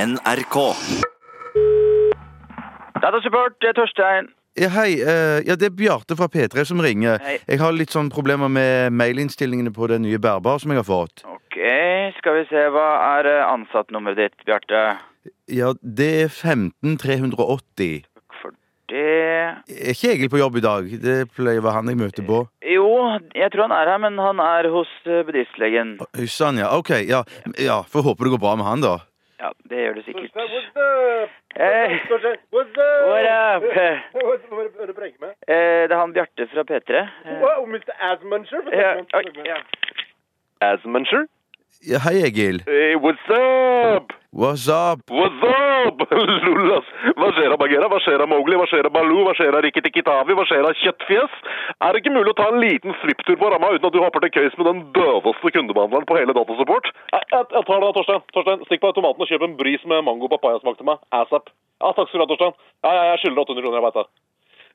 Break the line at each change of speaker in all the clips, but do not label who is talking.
NRK.
Datasupport, det er eh, Torstein.
Ja, hei. eh, Ja, det er Bjarte fra P3 som ringer.
Hei.
Jeg har litt sånn problemer med mailinnstillingene på den nye bærbare som jeg har fått.
Ok, skal vi se. Hva er eh, ansattnummeret ditt, Bjarte?
Ja, det er 15380.
Takk for det.
Er ikke Egil på jobb i dag? Det pleier å være han jeg møter på.
Jo, jeg tror han er her, men han er hos eh, bedriftslegen.
Sann, ja. Ok, ja. ja. Får håpe det går bra med han, da.
Ja, det gjør det sikkert.
What's up?
Hey,
What's up? What's
what
up?
up? Eh,
Hva er det du brenger med?
det er han Bjarte fra P3. Eh,
Wow, Mr. Asmuncher?
ja, oi, ja.
Asmuncher?
Ja, hei, Egil.
Hey, what's up?
What's up?
What's up? Lullas. Hva skjer av Bagheera? Hva skjer av Mowgli? Hva skjer av Baloo? Hva skjer av Rikki-Tikki-Tavi? Hva skjer av Kjøttfjes? Er det ikke mulig å ta en liten svipptur på ramma uten at du hopper til køys med den døveste kundebehandleren på hele Datasupport? Jeg, jeg, jeg tar det, Torstein. Torstein, Stikk på automaten og kjøp en bris med mango papayasmak til meg. Asap. Ja, takk skal du ha, Torstein. Ja, ja, jeg skylder 800 kroner, jeg veit det.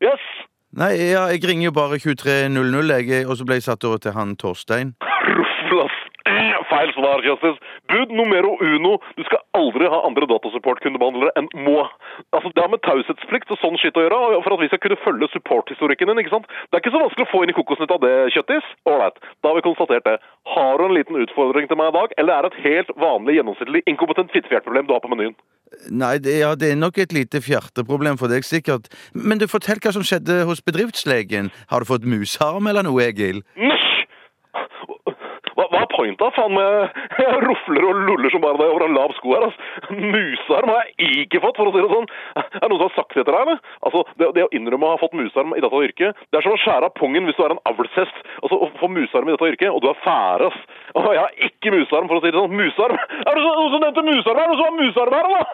Yes!
Nei, ja, jeg ringer jo bare 23.00, jeg, og så ble jeg satt over til han Torstein.
Rufflas. Feil svar, Kjøstis. Bud numero uno. Du skal aldri ha andre datasupport-kundebehandlere enn må. Altså, Det har med taushetsplikt og sånn skitt å gjøre, og for at vi skal kunne følge supporthistorikken din. ikke sant? Det er ikke så vanskelig å få inn i kokosnytt av det, Kjøttis. Ålreit, da har vi konstatert det. Har du en liten utfordring til meg i dag, eller er det et helt vanlig, gjennomsnittlig inkompetent fittefjertproblem du har på menyen?
Nei, det, ja, det er nok et lite fjerteproblem for deg, sikkert. Men du, fortell hva som skjedde hos bedriftslegen. Har du fått musarm eller noe, Egil?
Nysj! Hva, hva er pointa, faen med Jeg rufler og luller som bare det over en lav sko her, altså. Musarm har jeg ikke fått, for å si det sånn. Er det noen som har sagt det til deg, eller? Altså, det, det å innrømme å ha fått musarm i dette yrket, det er som å skjære av pungen hvis du er en avlshest. Altså, å få musarm i dette yrket, og du er fære, ass. Å, jeg har ikke musarm, for å si det sånn. Musarm? Er det så- noen som nevnte musarm her? Er det noen som har musarm her, eller?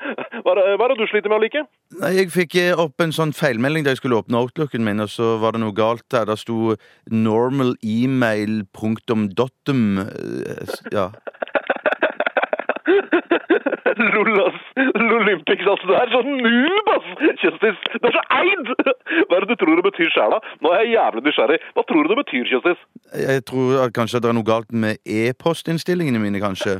Hva er det- hva er det du sliter med å like?
Nei, jeg fikk eh, opp en sånn feilmelding da jeg skulle åpne outlooken min, og så var det noe galt der. Der sto normalemail.dotum. eh, s- Ja.
Lol, ass. Lolympics, ass. Det er så noob, ass. Kjøstis. Det er så eid! Hva er det du tror det betyr sjæla? Nå er jeg jævlig nysgjerrig. Hva tror du det betyr, Kjøstis?
Jeg tror at kanskje det er noe galt med e-postinnstillingene mine, kanskje.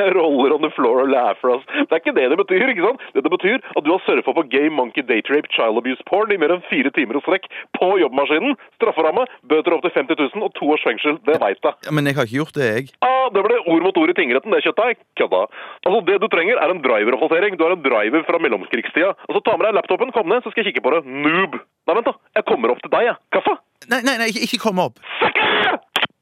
Jeg roller on the floor og laugher, ass. Det er ikke det det betyr, ikke sant? Det det betyr at du har surfa på gay monkey date rape child abuse porn i mer enn fire timer og strekk på jobbmaskinen. Strafferamme, bøter opp til 50 000 og to års fengsel. Det veit jeg.
Ja, men jeg har ikke gjort det, jeg.
Ah, det ble ord mot ord i tingretten, det kjøttet. Kødda. Altså, det du trenger, er en driveroppdatering. Du har en driver fra mellomkrigstida. Altså, Ta med deg laptopen, kom ned, så skal jeg kikke på det. Noob. Nei, vent, da. Jeg kommer opp til deg, jeg. Kaffe?
Nei, nei, nei, ikke- ikke kom opp.
Fucker!